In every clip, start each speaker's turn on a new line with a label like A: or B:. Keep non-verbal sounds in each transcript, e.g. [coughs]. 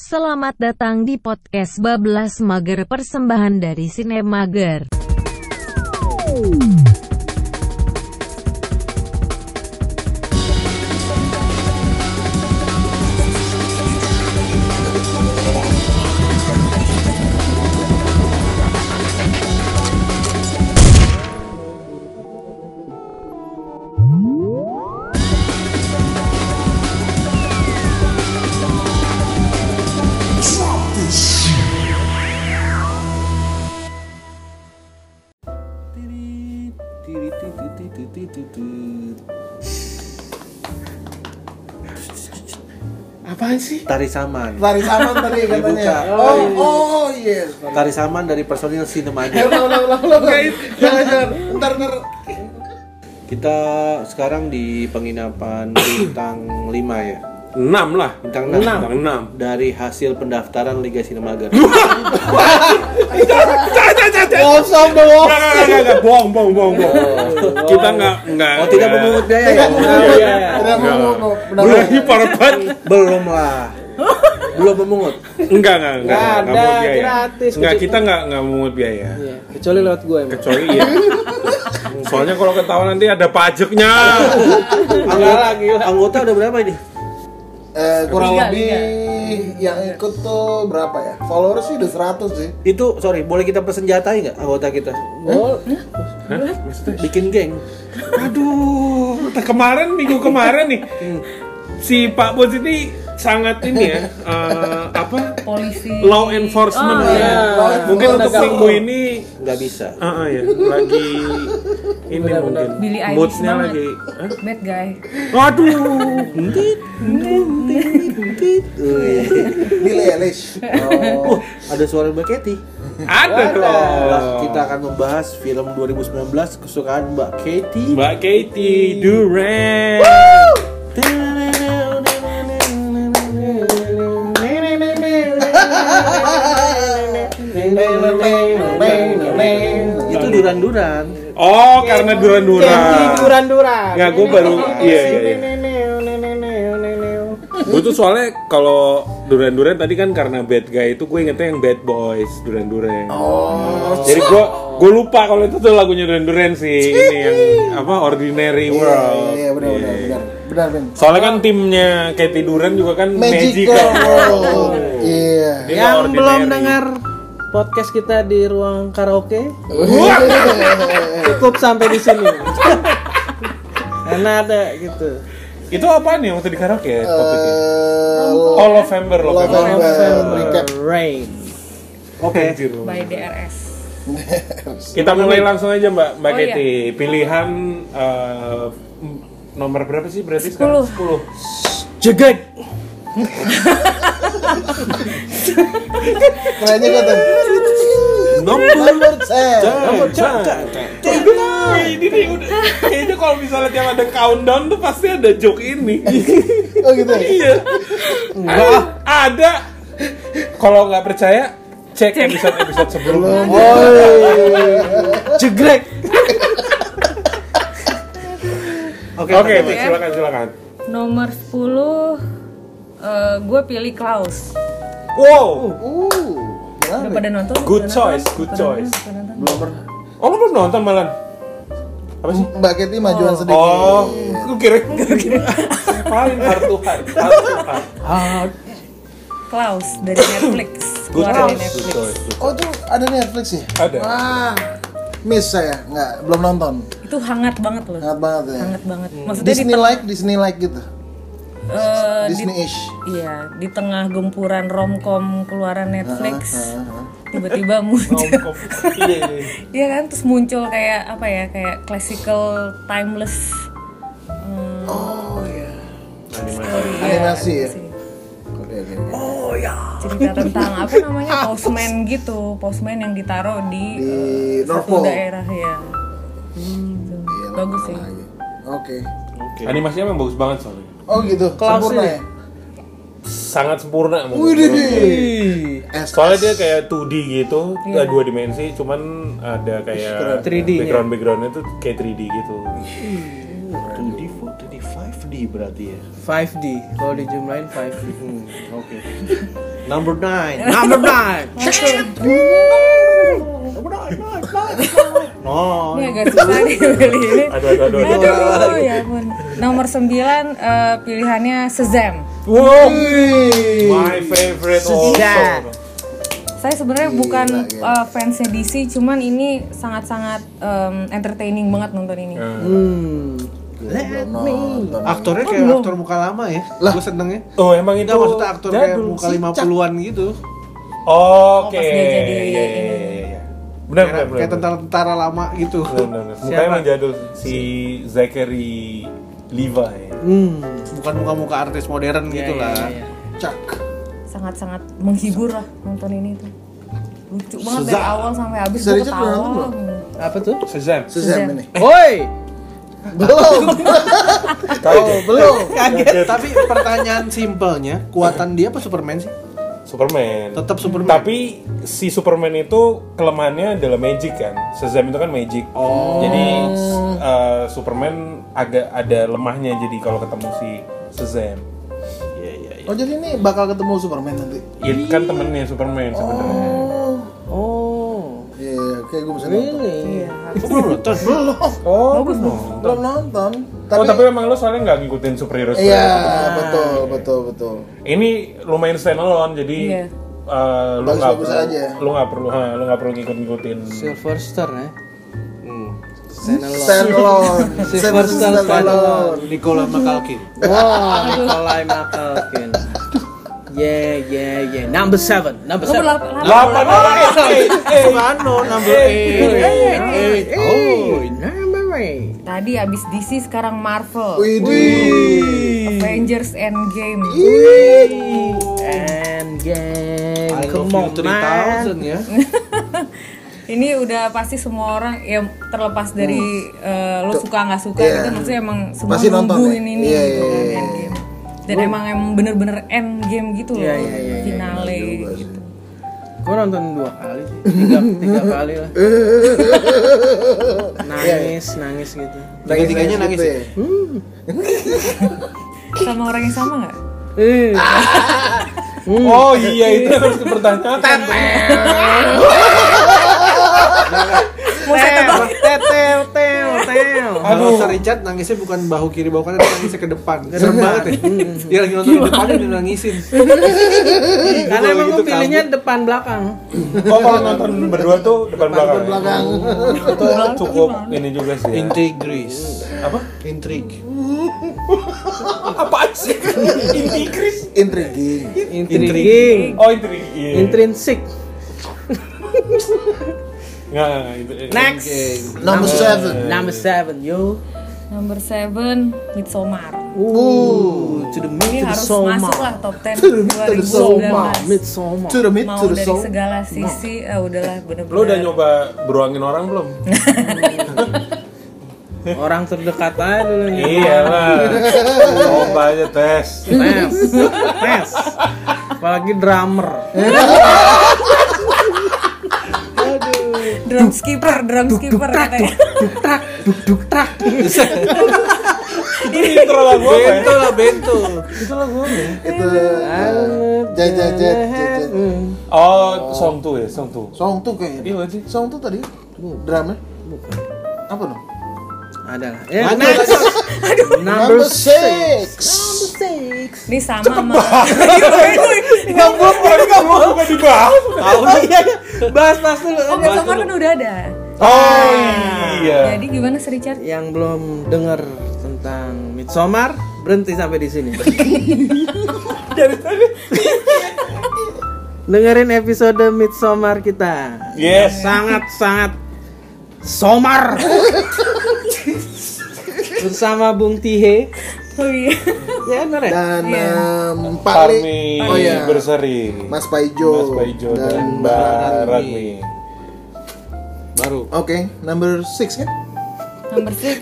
A: Selamat datang di podcast Bablas Mager persembahan dari Sinemager.
B: Tiri, tiri, ti, ti, ti, ti, ti, ti, ti.
C: Apaan sih?
B: Tari Saman
C: Tari saman tadi katanya.
B: Dibuka. iya.
C: Oh, oh, oh, yes.
B: Tari Saman dari personil
C: Ya
B: Sinemager
C: udah, udah, udah, udah. Jangan, jangan. Ntar, ntar.
B: Oh, Kita sekarang di penginapan bintang 5 ya
D: 6 lah
B: Bintang
D: enam.
B: 6
D: Bintang enam.
B: Dari hasil pendaftaran Liga Sinemager
C: Kosong dong.
D: Enggak, enggak, enggak, enggak, bohong, bohong, bohong, bohong. Kita enggak, enggak.
B: Oh tidak memungut biaya ya?
C: Tidak memungut.
B: Oh, iya.
C: Tidak memungut. Benar,
D: Belum
C: benar.
D: parah banget.
B: Belum lah Belum memungut
D: Enggak, enggak, enggak.
E: Enggak
D: enggak
E: ada,
D: memungut biaya.
E: gratis.
D: Enggak, kita enggak enggak memungut biaya.
E: Iya, kecuali lewat gue emang.
D: Kecuali ya. Soalnya kalau ketahuan nanti ada pajaknya.
B: Anggota, anggota udah berapa ini?
C: Eh, kurang
A: Tiga,
C: lebih yang ikut tuh berapa ya? Followers sih udah 100 sih.
B: Itu, sorry, boleh kita persenjatai nggak anggota kita?
E: Oh,
B: Bikin geng
D: Aduh, kemarin minggu kemarin nih si Pak Bos ini sangat ini ya eh, apa
A: Polisi.
D: law enforcement
A: Oh,
D: ya.
C: iya.
D: Mungkin untuk
E: Penegak
D: minggu
E: hukum.
D: ini
B: nggak
D: [laughs]
B: bisa
D: Ah ah, ya, lagi ini mungkin
A: Billie Eilish
D: moodnya
A: banget.
D: lagi.
A: Bad guy.
D: Hah? Aduh,
B: Tit, tit, tit, tit.
C: Billie Eilish.
B: Oh, ada suara Mbak Katy.
D: ada dong.
B: Kita akan membahas film 2019 kesukaan Mbak Katy.
D: Mbak Katy Duren.
B: Itu duran-duran.
D: Oh, karena duran-duran.
E: tiduran-duran.
D: Nggak, gua baru- iya, iya, iya. Gue tuh soalnya kalau duran-duran tadi kan karena bad guy itu gue ingetnya yang bad boys duran-duren.
C: Oh.
D: Jadi gue gue lupa kalau itu tuh lagunya duran-duran sih ini yang apa
C: Iya,
D: ordinary world.
C: iya, benar, benar, benar. Benar, benar.
D: Soalnya kan timnya Katy Duren juga kan
C: Magical
D: Magical.
C: [laughs] World. Iya.
D: Dia
E: Yang
D: ordinary.
E: belum dengar podcast kita di ruang karaoke, cukup sampai di
D: [laughs]
E: sini. Karena ada gitu.
D: Itu apaan ya waktu di karaoke ya? topiknya?
C: Eh,
D: Oh November November.
C: November.
E: Eh,
C: Recap.
E: Rain.
B: Oke.
D: Anjir.
F: by DRS.
D: Kita mulai langsung aja Mbak Mbak
F: Oh, iya.
D: Kety. Pilihan eh, m- nomor berapa sih berarti sekarang? 10.
E: Jeget.
C: Kayaknya kata
B: Nomor
C: Number 10.
B: Nomor
D: Nah, Ini nih udah kayaknya kalau misalnya tiap ada countdown tuh pasti ada joke ini.
C: Oh gitu. ya?
D: Iya. Enggak ada. Kalau nggak percaya cek episode episode sebelumnya.
E: Jegrek.
D: Oke, oke, silakan silakan.
F: Nomor 10 eh, gue pilih Klaus.
D: Wow,
C: Uh,
F: Udah
C: menarik.
F: pada nonton?
D: good
F: Udah
D: choice,
F: nonton?
D: good
F: Udah
D: choice.
F: nonton? Udah nonton?
C: Belum pernah.
D: Oh, lu belum nonton malan? Apa sih?
C: Mbak Kety majuan sedikit.
D: Oh, lu kira kira paling hard to hard, hard to hard.
F: Klaus
D: [coughs]
F: dari Netflix.
D: Good
F: Keluar dari
D: choice,
F: Netflix.
D: good choice.
C: Oh itu ada Netflix ya?
D: Ada.
C: Ah, miss saya nggak belum nonton.
F: Itu hangat banget loh.
C: Hangat banget ya.
F: Hangat banget. Maksudnya di,
C: Disney like, Disney like gitu.
F: eh, di-
C: Disney ish.
F: iya, di tengah gempuran romcom keluaran Netflix.
D: [laughs]
F: Tiba-tiba muncul. [laughs] Iya kan, terus muncul kayak apa ya? Kayak classical timeless. Hmm, story. Iya,
C: Animasi ya?
F: animasi.
C: Oke, oke.
F: cerita tentang apa namanya
C: [laughs]
F: postman gitu postman yang ditaruh di,
C: Di
F: eh, satu
C: Norfolk.
F: daerah ya Gitu.
C: Iya,
F: bagus sih
C: lagi. Oke.
D: Animasinya memang bagus banget soalnya.
C: Oh gitu. Sempurna ya.
D: Sangat sempurna. menurut
C: Widih.
D: gua. Soalnya dia kayak 2D gitu,
F: Iya.
D: dua dimensi, cuman ada kayak
E: 3D-nya.
D: background backgroundnya tuh kayak 3D
E: [laughs]
D: gitu.
B: 2D, 4D, 5D berarti ya.
E: Hmm. 5D. Kalau dijumlahin 5D.
B: Oke.
E: [laughs] Number nine. Number nine. No. [laughs]
F: Ini agak susah nih [laughs] pilih ini.
B: Aduh, aduh, aduh, aduh.
F: Aduh, ya ampun. Nomor 9 pilihannya Sezam.
D: Wow, my favorite
E: Sejak.
D: also.
F: Saya sebenarnya bukan
C: gila.
F: eh, fansnya DC, cuman ini sangat-sangat em, entertaining banget nonton ini.
D: Eh. Nah.
E: Hmm.
C: Belum nonton.
E: Aktornya kayak aktor muka lama ya.
C: Lah.
E: Gue seneng ya.
D: Oh, emang itu
E: Enggak maksudnya aktor kayak
D: jadul.
E: muka 50-an gitu.
D: Oke.
F: Oh, pas dia jadi
D: Iya, iya,
F: ini.
D: iya, iya. Benar, benar,
E: Kayak
D: benar.
E: kayak
D: benar.
E: tentara-tentara lama gitu.
D: Benar, benar. Mukanya
E: Siapa?
D: emang jadul si Zachary Levi.
E: Hmm, bukan muka-muka artis modern gitu lah.
C: Cak.
F: Sangat-sangat menghibur lah nonton ini tuh. Lucu banget dari
E: Shazam.
F: awal sampai habis
C: Bisa
F: gue
C: dicek nonton
F: ketawa.
C: belum?
E: Apa tuh?
D: Shazam.
C: Sesam ini.
E: [laughs] Woi,
C: Belum.
D: Tahu deh.
C: Belum.
E: kaget. Tapi pertanyaan simpelnya, kuatan dia apa Superman sih?
D: Superman.
E: Tetap Superman.
D: Tapi si Superman itu kelemahannya adalah magic kan. Shazam itu kan magic. Jadi s- uh, Superman agak ada lemahnya jadi kalau ketemu si Shazam.
E: Iya, iya, iya.
C: Oh jadi ini bakal ketemu Superman nanti.
D: Itu kan temennya Superman sebenarnya.
E: Oh,
C: Iya, iya, kayak gue bisa nonton.
E: really? Kok belum nonton?
C: Belum.
D: Oh,
F: Bagus loh.
C: Belum nonton.
D: Tapi, oh, tapi emang lo soalnya nggak ngikutin superhero
C: Iya,
F: Ah.
D: superhero.
C: betul, betul, betul.
D: Ini lumayan stand alone jadi
F: Iya.
D: uh, lo nggak
C: Bagus-bagus
D: perlu,
C: aja.
D: lo nggak perlu, ha, lo nggak perlu ngikut-ngikutin.
E: Silver Star ya. Hmm.
C: Stand
D: [laughs]
C: alone. Stand
E: Silver Star
C: alone.
E: Standalone. Nicola Makalkin. Wow, Nicola Makalkin. Yeah, yeah, yeah. Number seven, number
F: Nomor
E: seven.
F: delapan.
D: Delapan orang. ya? Eh,
E: Mano, number eight. eight. Iya, Oh, number eight.
F: Tadi abis DC sekarang Marvel.
C: Widih.
F: Avengers Endgame.
E: And gang,
B: I love
E: come
B: you
E: on man.
B: 3000 ya.
F: Ini udah pasti semua orang ya terlepas dari eh, lo suka nggak suka
C: Iya.
F: gitu maksudnya emang semua
C: Pasti nonton
F: nungguin
C: ya?
F: ini
C: Iya,
F: gitu
C: iya,
F: kan,
C: iya.
F: Endgame. Dan emang emang bener-bener end game gitu loh,
E: Iya, iya, iya, iya,
F: finale gitu.
E: Gue nonton dua kali [laughs] sih, tiga, tiga kali [laughs] lah. iya. Nangis, nangis gitu.
C: Tiga-tiganya nangis ya?
F: Sama orang yang sama nggak?
E: Eh,
D: Oh iya itu harus dipertanyakan.
F: Mau saya tebak?
E: tel, tel, tel, tel.
B: Kalau Sir Richard nangisnya bukan bahu kiri bahu kanan, tapi nangisnya ke depan. Serem banget ya.
E: Hmm.
B: Dia lagi nonton di depan dia nangisin.
E: Karena emang
B: Gitu
E: gue pilihnya depan belakang.
D: Oh kalau nonton berdua tuh depan belakang. ya?
C: Belakang.
D: Itu cukup ini juga sih. ya.
B: Integris.
D: Apa?
B: Intrik.
D: Apaan sih? Integris.
C: Intriguing.
E: Intriguing,
D: Oh integris. Iya.
E: intrinsik.
D: Nggak, nggak, nggak, itu.
E: Next.
C: Number seven.
E: Number seven, yo.
F: Number 7 Midsommar.
E: Ooh, to the
F: Ini
E: mid, to the
F: harus
E: soul,
F: masuk
E: mom.
F: lah top 10
C: Midsommar.
F: 2019.
E: Midsommar.
C: To the mid,
F: Mau
C: to the
F: dari
C: soul.
F: segala sisi, eh, udahlah bener-bener.
D: Lo
F: [laughs]
D: udah nyoba beruangin orang belum?
E: Orang terdekat aja dulu nih.
D: iya lah. Coba aja tes.
E: Mes. Mes. Apalagi drummer.
F: Drum skipper, drum skipper katanya.
E: Duk trak, duk duk trak.
D: Itu intro lagu apa ya?
E: lah bento.
C: Itu eh, jajet jajet.
D: Oh, song tuh ya, song tuh.
C: Song tuh
D: Iya
C: kayaknya.
D: nggak sih.
C: Song tuh tadi drama. Apa dong?
E: Ada lah. Ya, next. Number six.
F: Ini sama sama. Iya, Enggak
D: Gue bukan kamu bukan dibahas.
E: Oh iya, iya. bahas bahas dulu.
F: Oh,
E: Bahas
F: Midsommar kan
E: dulu.
F: udah ada.
D: Oh iya.
F: Jadi gimana sih Richard?
E: Yang belum dengar tentang Midsommar, berhenti sampai di
B: [laughs]
E: sini. Dengerin episode Midsommar kita.
D: Yes.
E: Sangat sangat somar. Bersama Bung Tihe.
F: Oh iya.
E: Ya bener ya?
C: Dan
F: Iya.
C: um, Pak Li-
D: Parmi
C: Oh iya.
D: berseri.
C: Mas Paijo.
D: Mas Paijo
C: Mbak
D: dan Mbak
C: Rani.
D: Ratmi.
B: Baru.
C: Oke, number six kan?
F: Number 6.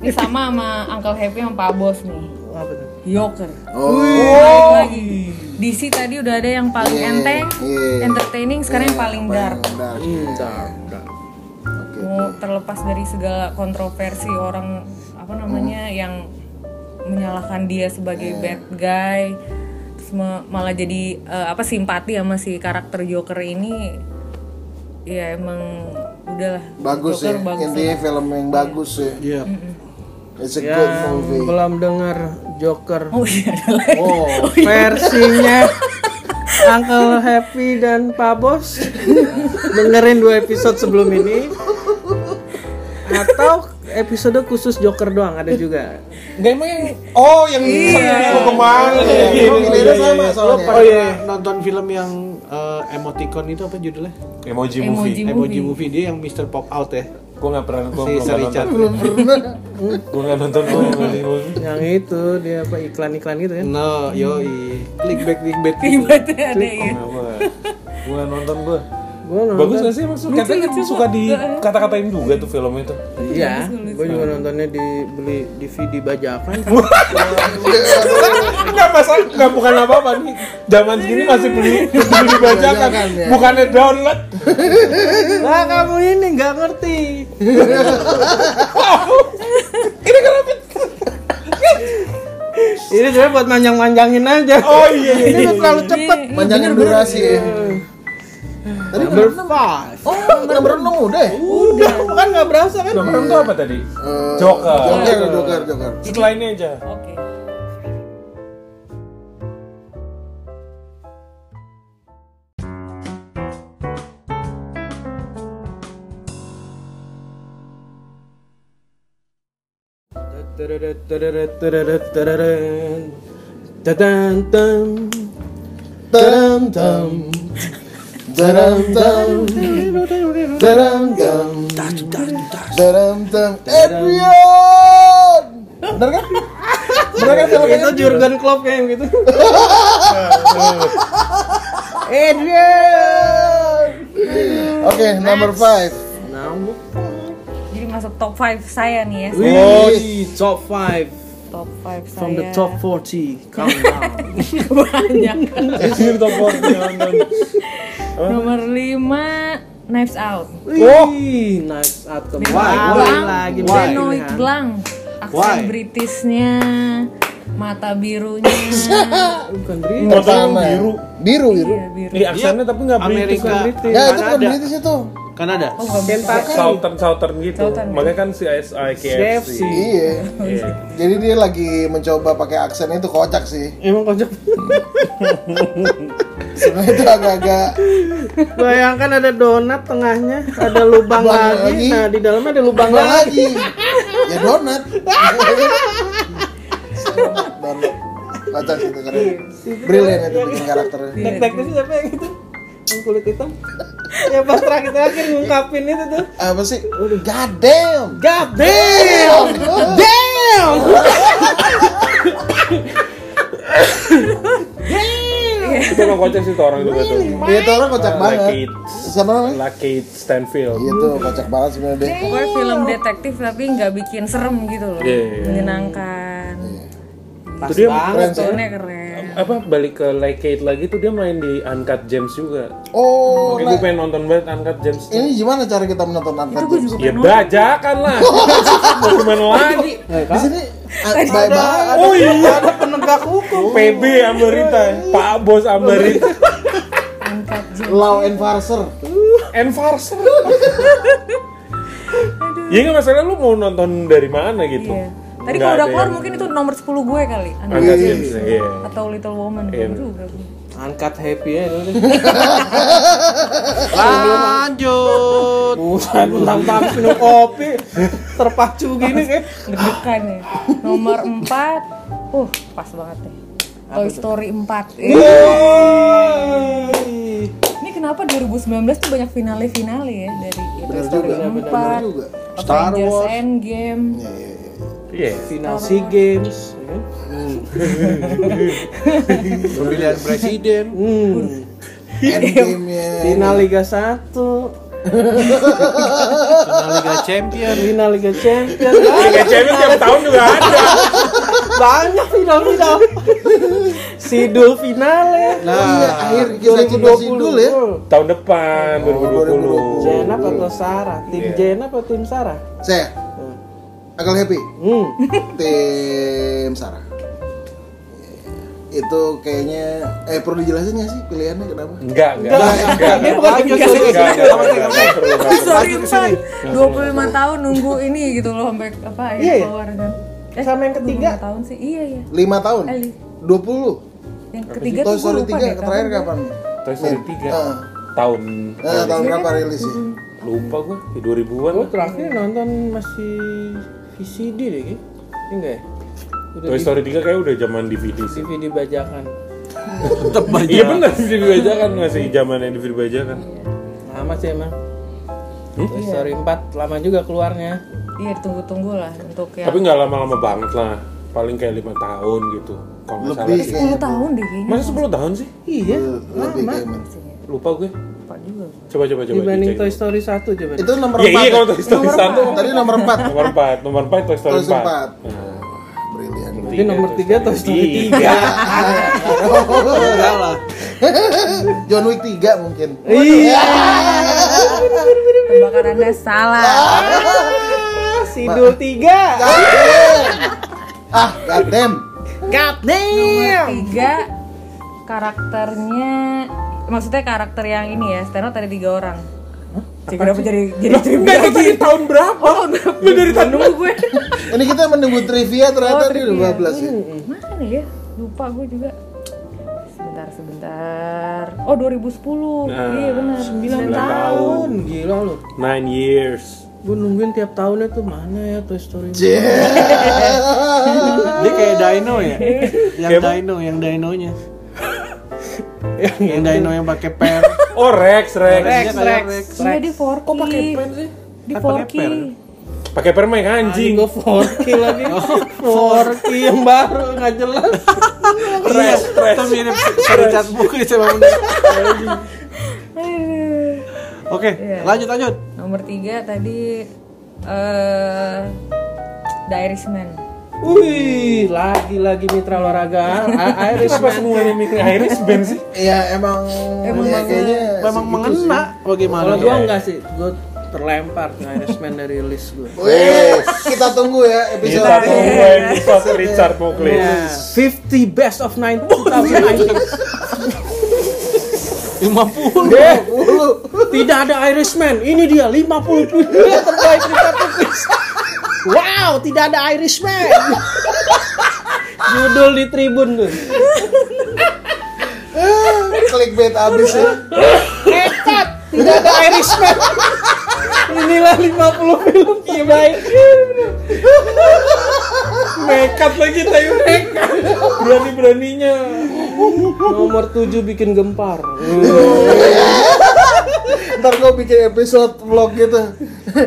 F: Ini sama sama Uncle Happy sama Pak Bos nih.
E: Apa tuh?
F: Joker.
C: Oh.
F: Balik lagi. DC tadi udah ada yang paling
C: Iya,
F: enteng,
C: iya. ya?
F: entertaining, sekarang yang paling dark.
C: Dark.
E: Hmm. Bentar, bentar.
C: Oke.
F: Mau terlepas dari segala kontroversi orang
E: Hmm.
F: apa namanya yang menyalahkan dia sebagai bad guy. Terus me- malah jadi eh, apa simpati sama si karakter Joker ini ya emang udahlah
C: bagus ya
F: Joker bagus
C: intinya film yang bagus ya
B: Iya.
C: it's a good
E: Yang
C: movie
E: belum dengar Joker
F: oh iya ada lagi.
C: oh
E: iya. [laughs] versinya Uncle Happy dan Pak Bos dengerin dua episode sebelum ini atau episode khusus Joker doang ada juga
D: Nggak emang yang oh yang iya. kemarin ya.
C: ini sama
B: Lo
C: soalnya
B: pernah nonton film yang eh, emoticon itu apa judulnya?
D: Emoji,
F: Emoji
D: movie.
B: Emoji
F: movie.
B: movie dia yang Mr. Pop Out ya.
D: Gue nggak pernah gue
B: Si
D: nggak
B: Sir
D: pernah
B: Richard.
D: nonton. Gue nggak nonton emoji movie.
E: yang itu dia apa iklan-iklan gitu kan
B: No, yoi. Clickbait clickbait gitu.
F: [laughs] Ribetnya ada ya
D: Gue nggak nonton gue.
E: gue
D: Bagus gak sih maksud katanya suka dikata-katain juga tuh film itu.
E: iya gue juga nontonnya dibeli DVD bajakan
D: Enggak masalah, enggak bukan apa-apa nih. Zaman segini masih beli beli dibacakan, bukannya download.
E: lah kamu ini nggak
D: [laughs]
E: ngerti ini sebenarnya buat manjang-manjangin aja
D: Oh iya.
C: ini udah terlalu cepet panjangin durasi ya tadi
E: number five
C: oh nomor enam udah ya
E: udah kan nggak berasa kan
D: Nomor itu apa tadi?
C: Eh,
D: Joker.
C: Joker Joker Joker
D: Setelah ini aja.
F: oke
C: Tadam tam Tadam tam Tadam tam Tadam tam Adrian Bener kan? Bener kan film
E: itu Jurgen Klopp kayak yang gitu Adrian
C: Oke, number five
E: Namu
F: jadi masuk top 5 saya nih ya
E: Oh, di top 5
F: top 5 saya
E: From the top 40 Countdown
F: [laughs] banyak
E: [laughs]
D: Ini top 40.
F: nomor 5 Knives Out
E: Wih, nice out kembali
F: Blanc,
E: lagi
F: Benoit
E: pilihan.
F: Blanc aksen
B: Why?
F: Britishnya mata birunya
D: [laughs]
E: Bukan Brit
D: Motor
C: Sama.
D: biru.
C: Biru biru
F: Iya, biru
D: Ini aksennya tapi nggak British
B: Amerika.
D: kan British.
C: Ya itu kan
B: Kanada.
C: British itu
B: Kanada.
F: oh nggak bisa.
E: Kentucky
D: Southern Southern gitu.
F: Southern.
D: Makanya kan si SI
E: KFC
D: KFC.
C: Iya
D: Iya.
C: Jadi dia lagi mencoba pakai aksen itu kocak sih
E: Emang kocak
C: Sebenernya itu agak-agak
E: Bayangkan ada donat tengahnya Ada lubang
C: Lubang
E: lagi
C: lagi.
E: Nah, di dalamnya ada lubang
C: Apa
E: lagi
C: Iya lagi? Ya donat Donat Kocak sih itu keren Brilliant itu bikin karakternya
E: Tek-teknya siapa yang gitu? Yang kulit hitam Ya pas terakhir-terakhir ngungkapin itu tuh
C: apa sih? God damn.
E: God damn! Damn!
D: Itu nggak kocak sih tuh orang itu gitu.
C: Dia itu orang kocak
D: Like
C: banget.
D: it.
C: Siapa namanya?
D: Lucky Stanfield.
C: Itu kocak banget sebenarnya deh.
F: pokoknya film detektif tapi nggak bikin serem gitu loh
D: Iya, iya.
F: menyenangkan
E: Pas
D: dia
C: Keren
E: banget
C: sih.
F: Soalnya keren
D: Apa balik ke Like it lagi tuh dia main di Uncut Gems juga.
C: Oh,
D: Oke,
C: nah,
D: gue pengen nonton banget Uncut Gems.
E: Iya,
C: ini gimana cara kita menonton Uncut Gems?
D: Ya bajakan
E: [laughs]
D: lah. Mau gimana lagi?
C: Di sini ah, baik banget.
D: Oh iya,
E: Ada penegak hukum Iya,
D: PB Ambarita, Pak Bos
E: [laughs]
D: Ambarita,
F: angkat jam
C: Law enforcer.
D: enforcer. Ya nggak masalah lu mau nonton dari mana gitu.
F: iya tadi
D: Nggak
F: kalau udah
D: ada
F: keluar
D: yang-
F: mungkin itu nomor 10 gue kali Anak
D: Uncut
F: kecil.
D: Gems, iya.
F: atau Little Woman
D: Iya.
F: belum juga gue.
E: Angkat happy ya itu.
B: Lanjut.
E: Bukan tanpa [laughs] minum kopi Terpacu gini kayak
F: deg-degan ya nomor 4 uh pas banget nih Toy Story 4 Eh, ini kenapa 2019 tuh banyak finale-finale ya dari ya, Toy Story 4
B: Star
F: Avengers
B: Wars.
F: Endgame
D: Iya.
E: Final SEA Games ya kan?
B: Pemilihan presiden.
E: hmm.
C: Iya. Endgame-nya.
E: Final Liga 1
B: Final Liga Champion.
E: Final Liga Champions
D: Liga Champions tiap tahun juga
E: [laughs]
D: ada.
E: Banyak [laughs] final-final Sidul finale
C: Nah, iya, akhir kita cinta sidul ya.
D: Tahun depan
E: Iya.
D: 2020.
E: Jenap atau Sarah? Tim Jenap atau tim Sarah?
C: Saya. Hmm. [laughs] Uncle Happy.
E: Hmm.
C: Tim Sarah. itu kayaknya eh perlu dijelasin nggak sih pilihannya kenapa?
D: Enggak, enggak, enggak.
B: Dia bukan tiga,
D: Lanjut, lanjut,
B: tiga.
D: enggak, enggak, enggak, enggak, enggak, enggak.
F: [laughs] Sorry Pak, 25 tahun nunggu ini gitu loh sampai apa akhirnya
E: Iya, iya.
F: keluar kan.
E: Sama yang ketiga.
F: 25 tahun sih. Iya iya.
C: Lima tahun?
F: Ali.
C: Dua puluh?
F: Yang ketiga tuh
C: Toy
F: gue
C: Story
F: lupa deh.
C: tiga terakhir ya, kapan?
D: Toy Story tiga.
C: Heeh.
D: tahun
C: Eh, tahun berapa rilis sih?
D: lupa ya gue di 2000-an
E: Gue
D: lah.
E: terakhir nonton masih VCD deh, Ki. Ini enggak ya? Udah
D: Toy Story 3 kayak udah zaman DVD
E: di
D: sih.
E: DVD bajakan.
B: tetap banyak
D: Iya benar DVD bajakan masih zaman yang DVD bajakan.
E: Lama sih emang. Toy Story 4 lama juga keluarnya.
F: Iya tunggu-tunggu lah untuk
E: Iya.
F: yang
D: Tapi nggak lama-lama banget lah. Paling kayak lima tahun gitu. Kalau nggak salah
C: Lebih
D: sih.
F: 10 tahun deh kayaknya.
D: Masa 10 tahun sih?
E: Iya,
C: Lebih
E: lama.
C: kayaknya.
D: Lupa gue.
F: Lupa juga.
D: Coba coba coba
E: Dibanding
D: dicek.
E: Toy Story 1 coba.
C: Itu nomor
D: Iya
C: empat.
D: iya
C: ya?
D: kalau Toy Story 1
C: Tadi nomor empat.
D: nomor 4, nomor 4 Toy Story Iya,
C: Terus
D: 4.
C: empat. Brilian.
E: Tapi nomor 3 Toy Story
B: Iya.
E: 3.
B: enggak lah
C: [laughs] John Wick tiga mungkin.
D: Iya.
F: Tebakan Anda salah.
E: Sidul 3.
C: Ah, goddamn.
E: God
F: Iya.
E: damn.
F: Tiga karakternya maksudnya karakter yang ini ya, Steno tadi tiga orang. Jadi kenapa jadi jadi trivia lagi? Oh,
D: Dari tahun berapa? Lu dari tahun
F: Nunggu gue. [laughs]
C: Ini kita menunggu trivia
D: Oh,
C: ternyata di 12 ya.
F: Mana ya? Lupa gue juga. Sebentar, sebentar. Oh, 2010. iya benar. 9 tahun.
E: Tahun gila lu.
D: 9 years.
E: Gue nungguin tiap tahunnya tuh mana ya Toy [laughs] Story.
B: dia kayak dino ya
E: yang dino, yang dinonya. yang, yang dino yang pakai pen.
D: Oh Rex, Rex.
E: Rex, Rex.
F: Iya, di Forky. Kok pakai pen sih? Di Forky.
D: Pakai permen anjing.
E: Gue 4K lagi. 4K yang baru nggak jelas.
B: stress stress tapi ini perencat buku di sama bunda.
F: Aduh.
B: oke
E: Iya.
B: lanjut lanjut
F: Nomor tiga tadi eh The Irishman.
E: Wih, lagi-lagi mitra [laughs] olahraga. Ah, A-
D: Kenapa
E: Irishman.
D: semuanya mikir Iris Band sih?
C: Iya, emang
F: Emang
C: ya,
F: banget.
C: kayaknya
B: memang
C: segitu sih.
B: mengena bagaimana
E: Iya. Kalau gue enggak sih, gue terlempar ke Irishman dari list gue.
C: Wih, kita tunggu ya episode
D: Kita tunggu episode Richard Moklis.
E: Iya. Nah. 50 best of 9 2019.
B: 50
E: Deh, tidak ada Irishman. Ini dia 50 pilihan terbaik di satu quiz. Wow, tidak ada [laughs] Irishman. Judul di Tribun tuh.
C: [laughs] clickbait abis ya.
E: Hebat, tidak ada Irishman. Inilah 50 film Iya, terbaik.
D: Nekat lagi tayo nekat. Berani-beraninya.
E: Nomor 7 bikin gempar.
C: Ntar gue bikin episode vlog gitu. [laughs]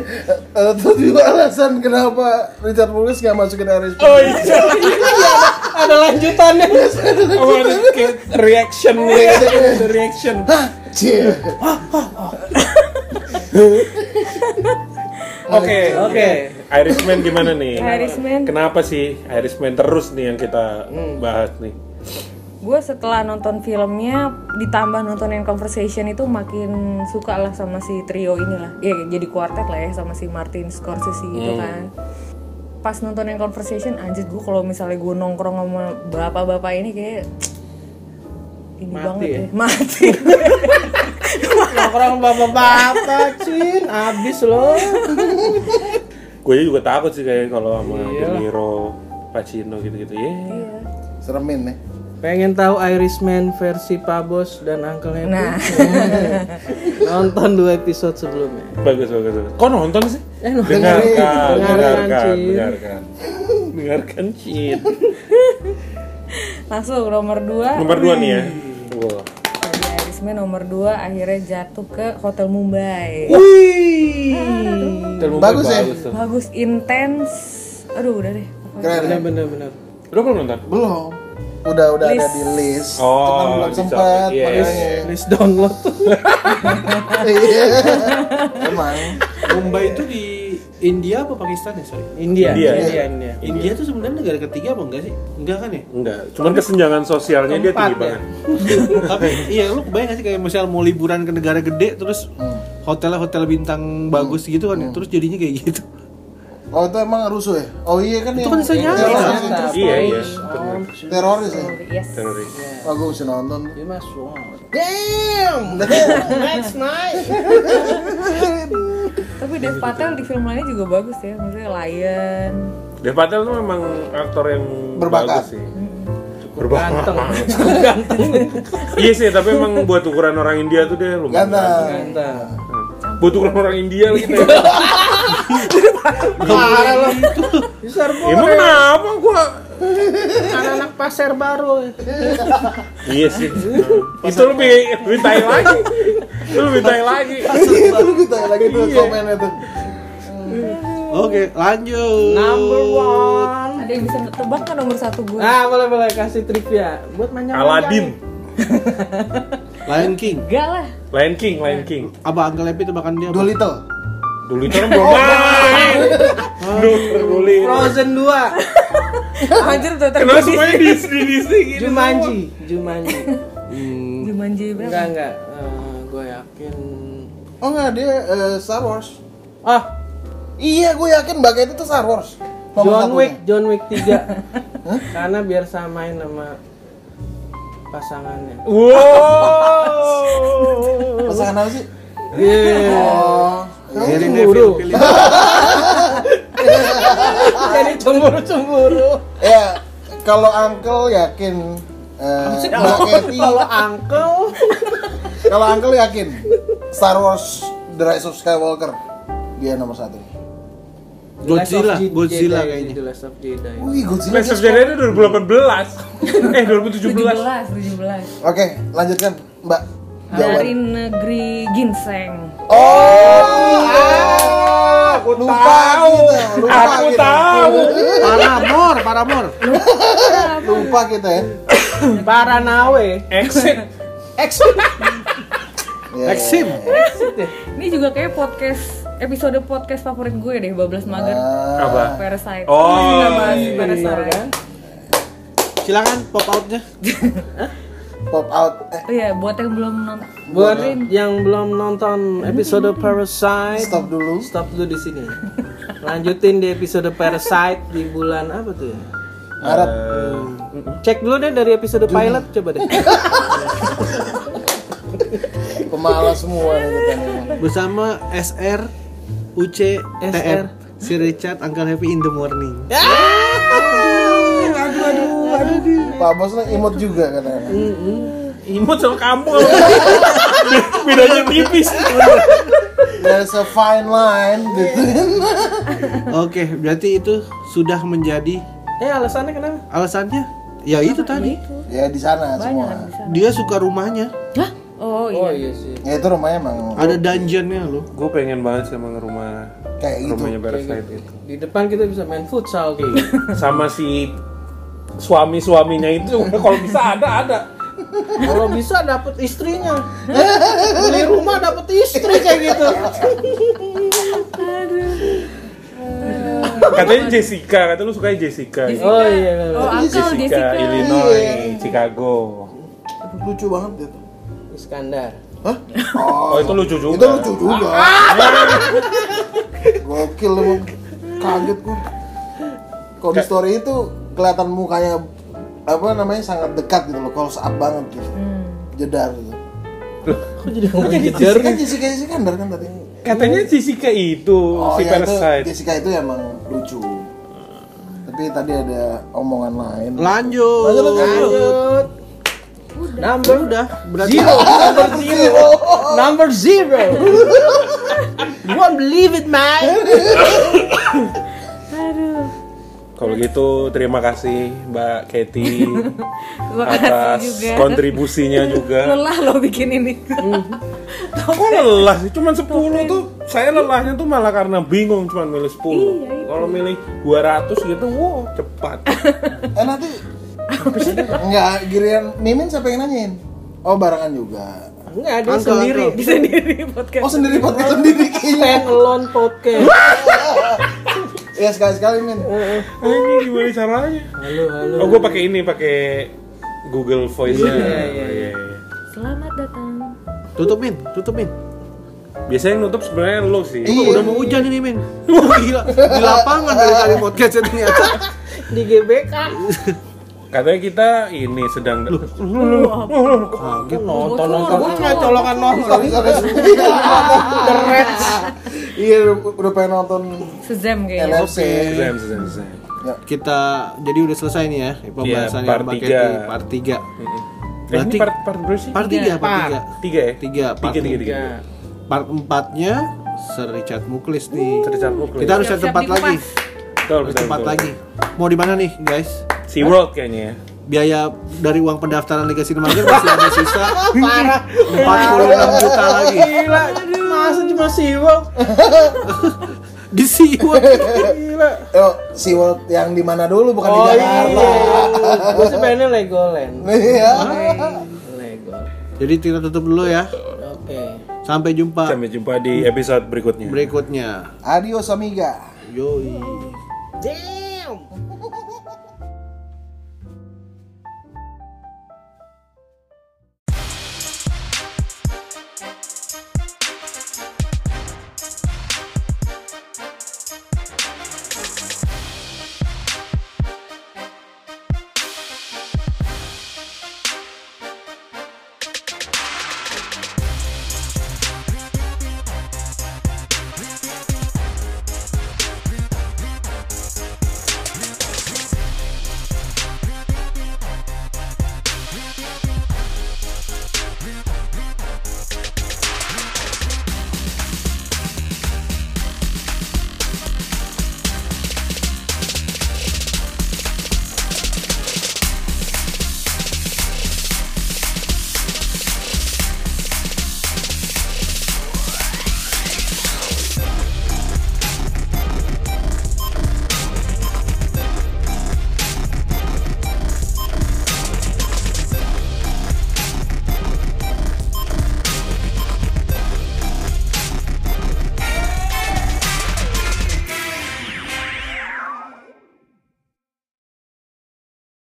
C: Eh, Tujuh alasan kenapa Richard Mullis gak masukin Irish
D: Oh
C: Pie.
D: iya.
E: Ada lanjutannya.
D: Oh, ada kayak reaction nih. Ada reaction.
C: Cie.
D: Oke.
E: Oke.
D: Irishman gimana nih?
F: Irishman.
D: Kenapa sih Irishman terus nih yang kita bahas nih?
F: Gue setelah nonton filmnya ditambah nonton yang conversation itu makin suka lah sama si trio inilah. Ya jadi kuartet lah ya sama si Martin Scorsese gitu
E: Hmm.
F: kan. Pas nonton yang conversation anjir gue kalau misalnya gue nongkrong sama bapak-bapak ini kayak ini
E: Mati
F: banget
E: ya?
F: ya. [laughs] Mati.
E: Nongkrong bapak-bapak, Cin, abis loh.
D: Gue juga takut sih kayak kalau sama De Niro, Pacino gitu-gitu. Ya.
C: Seremin nih.
E: Pengen tahu Irishman versi Pabos dan Uncle Happy?
F: Nah. [laughs]
E: Nonton dua episode sebelumnya.
D: Bagus, bagus, bagus. Kok nonton sih?
E: Eh, nonton.
D: Dengarkan, dengarkan,
E: Dengarkan, Cin.
D: dengarkan. Dengarkan, Cin.
F: Langsung nomor 2
D: Nomor dua nih ya. Wah.
F: Tadi Irisme nomor 2 akhirnya jatuh ke Hotel Mumbai.
E: Wih.
D: Terlalu
C: Bagus ya?
D: tuh.
F: Bagus, intens. Aduh, udah deh.
C: Keren ya?
E: Bener-bener.
D: Lo belum nonton?
C: Belum. Udah udah ada di list.
D: Oh,
C: Cuman belum
D: di
C: sempat.
D: soundtrack. Iya,
C: makanya.
E: Please download.
C: [laughs] Iya. Emang.
B: Mumbai itu di India apa Pakistan ya sorry
D: India.
E: India. India. India. India.
B: India itu sebenarnya negara ketiga apa enggak sih enggak kan ya
D: Enggak, cuman kesenjangan sosialnya dia
E: Keempat
D: tinggi
E: ya?
D: banget.
B: tapi iya lu kebayang gak sih kayak misal mau liburan ke negara gede terus hotelnya hotel bintang bagus gitu kan ya terus jadinya kayak gitu
C: Oh itu emang rusuh ya? Oh iya kan
E: Itu
C: yang-
E: kan ya? bisa
C: teroris
E: nyata.
C: itu.
D: Iya, iya.
C: Teroris ya?
F: Yes.
D: Teroris.
C: Oh gue mesti nonton
D: Iya,
E: Dia masuk.
C: Damn! Next night!
F: Tapi Dev Patel di film lainnya juga bagus ya, maksudnya Lion.
D: Dev Patel tuh memang aktor yang
C: Berbakat.
D: bagus sih. Berbakat. [laughs]
E: Ganteng. Ganteng.
D: iya sih, tapi emang buat ukuran orang India tuh dia lumayan.
C: Ganteng [laughs]
E: Ganteng.
D: Buat ukuran orang India gitu. ya. Iya.
C: Parah lo
E: Besar
D: Emang kenapa gua?
E: anak-anak pasar baru.
D: Iya sih. Itu lebih lebih tai lagi. Itu lebih tai lagi.
C: Itu
E: Iya.
C: lebih tai Iya, lagi tuh komennya tuh
B: Oke, lanjut.
E: Number one.
F: Ada yang bisa tebak kan nomor satu gue?
E: Ah, boleh boleh kasih trivia buat manjang.
D: Aladdin,
B: Lion King.
F: Enggak lah.
D: Lion King, Lion King.
B: Apa Uncle Happy tebakan dia? apa?
C: Dolittle
D: Dulu itu kan
E: Oh,
D: belum main. Duh, dulu.
E: Frozen 2.
F: Anjir udah
D: Kenapa
F: terjadi.
D: semuanya di gitu? di di sini?
E: Jumanji, Jumanji.
F: Jumanji
E: Enggak
F: berapa?
E: enggak. Eh, gue yakin.
C: Oh enggak dia eh, Star Wars
E: Ah,
C: Iya gue yakin bagai itu tuh Star Wars ya? Nomor
E: John
C: satunya.
E: Wick, John Wick [laughs] 3. Karena biar samain sama pasangannya.
D: Wow.
C: Pasangan apa sih?
E: Iya.
C: Oh
B: Biarin dia
E: Cemburu.
B: pilih.
E: Jadi cemburu-cemburu.
C: Ya Kalau Uncle yakin eh, Mbak Kathy
E: Kalau uncle
C: [laughs] Kalau Uncle yakin Star Wars The Rise of Skywalker Dia nomor satu
B: Godzilla,
E: The Last of
B: Godzilla
E: Jedi,
B: kayaknya.
E: The Last of Jedi.
C: Wih Godzilla
D: Last of Jedi itu 2018. Eh, 2017.
F: 17, 17.
C: Oke lanjutkan Mbak
F: Dari negeri ginseng.
C: Oh, aku lupa tahu. Kita, lupa
D: Aku
C: kita.
D: tahu.
B: Paramor, Paramor.
C: Lupa kita ya.
E: Hmm, Paranawe.
D: Exit.
C: Ya,
B: Exim.
F: Ini juga kayak podcast episode podcast favorit gue deh, Bablas Mager.
C: Ah,
D: Apa?
F: Parasite.
D: Oh,
F: Ini juga bahas
D: iya,
E: Benar
F: Parasite.
E: kan?
B: Silakan pop outnya.
C: pop out. Eh,
F: Oh iya, buat yang belum nonton.
E: Buat yang belum nonton episode Parasite,
C: stop dulu.
E: stop dulu di sini. ya. Lanjutin di episode Parasite di bulan apa tuh ya?
C: Harap.
E: Cek dulu deh dari episode pilot coba deh.
C: Pemalas semua nih kita nih.
B: Bersama SR, UC, TR.
E: SR.
B: Si Richard, Uncle Happy in the morning.
C: Pak Bos nih imut juga katanya.
D: Imut sama kamu. Bedanya tipis.
C: There's a fine line between.
B: Oke, berarti itu sudah menjadi
E: Eh alasannya kenapa?
B: alasannya. Ya itu tadi.
C: ya di sana semua.
F: Banyak bisa.
B: Dia suka rumahnya.
F: Hah? Oh iya.
E: iya sih.
C: Ya itu rumahnya emang
B: Ada dungeonnya loh.
D: Gue pengen banget sama rumah
C: kayak gitu.
D: rumahnya Parasite itu.
E: Di depan kita bisa main futsal gitu.
D: Sama si suami-suaminya itu kalau bisa ada ada.
E: Kalau bisa dapat istrinya. Eh, Beli rumah dapat istri kayak gitu.
D: Katanya Jessica, katanya lu suka Jessica.
E: Oh iya. bener.
F: Oh, Uncle
D: Jessica,
F: Jessica.
C: Iya.
D: Illinois, Chicago.
C: Lucu banget dia tuh.
E: Iskandar.
C: Hah?
D: Oh, itu lucu juga.
C: Itu lucu juga. Gokil lu. Kaget gue. Kalau di story itu kelihatan mukanya apa namanya sangat dekat gitu loh, close up banget gitu. Jedar gitu.
E: Kok jadi ngomongin
C: Jedar kan Jessica Jessica Andar kan tadi.
D: Katanya Jessica itu Oh,
C: ya,
D: si
C: itu
D: Parasite.
C: Jessica itu emang lucu. Tapi tadi ada omongan lain.
B: Lanjut.
C: Lanjut, lanjut.
E: Lanjut. Number udah.
B: Berarti
E: [laughs] Number zero. Number zero. You won't believe it, man.
D: Kalau gitu terima kasih Mbak Katy
F: [laughs] Terima kasih
D: atas
F: juga.
D: kontribusinya
F: [laughs]
D: juga.
F: Lelah lo bikin ini. [laughs]
D: Kok lelah sih? Cuman 10 tuh saya lelahnya tuh malah karena bingung cuman milih 10.
F: Iya,
D: Kalau milih 200 gitu, wow
F: [laughs]
D: cepat.
C: Eh nanti enggak giliran Mimin siapa yang nanyain? Oh barengan juga.
E: Enggak, dia sendiri.
F: Di [laughs] sendiri podcast.
C: Oh sendiri podcast sendiri kayaknya.
E: Stand alone podcast.
C: Ya sekali-sekali Min.
D: Ini gimana caranya?
E: Halo, halo.
D: Oh, gue pakai ini, pakai Google Voice-nya. Oh,
E: Iya, iya, iya.
D: iya.
F: Selamat datang.
B: tutupin, tutupin.
D: Biasanya yang nutup sebenarnya lo sih.
C: Iya.
B: Udah mau hujan ini, men. [laughs] Wah, gila. Di lapangan dari tadi podcast ini ternyata.
E: di GBK
D: Katanya kita ini sedang
B: Kaget
E: nonton nonton gue cuma colokan nonton
C: Sorry, sorry. Iya, udah- udah pengen nonton
F: Sezam kayaknya.
C: LFC.
D: Zem, zem, zem.
B: Kita jadi udah selesai nih ya pembahasan
D: Iya, part
B: Mbak
D: tiga.
B: Kety, part 3.
D: Eh, ini
B: Berarti-
D: part part berapa sih?
B: Part 3, part 3.
D: tiga ya?
B: Tiga, part
D: tiga, tiga, tiga.
E: Iya.
B: Part 4-nya Sir Richard Muklis nih.
D: Sir Richard Muklis.
B: Kita harus cari
F: Siap-siap
B: tempat
F: dikupas.
B: lagi.
D: Betul,
B: Harus
D: betul,
B: tempat
D: betul.
B: lagi. Mau di mana nih, guys?
D: Sea World kayaknya ya.
B: Biaya dari uang pendaftaran Liga Sinemager masih ada
D: [laughs]
B: sisa 46 juta lagi.
E: gila masa cuma siwok
B: Di Siwon.
E: gila
C: Eh, SeaWorld yang di mana dulu bukan
E: Oh,
C: di
E: iya.
C: Jakarta.
E: gue sih pengennya Legoland
C: Iya.
E: Legoland
B: Jadi kita tutup dulu ya.
E: oke
B: Sampai jumpa
D: Sampai
B: Nah.
D: jumpa di episode berikutnya.
B: berikutnya.
C: Adios amiga.
B: Yoi.
E: Ding.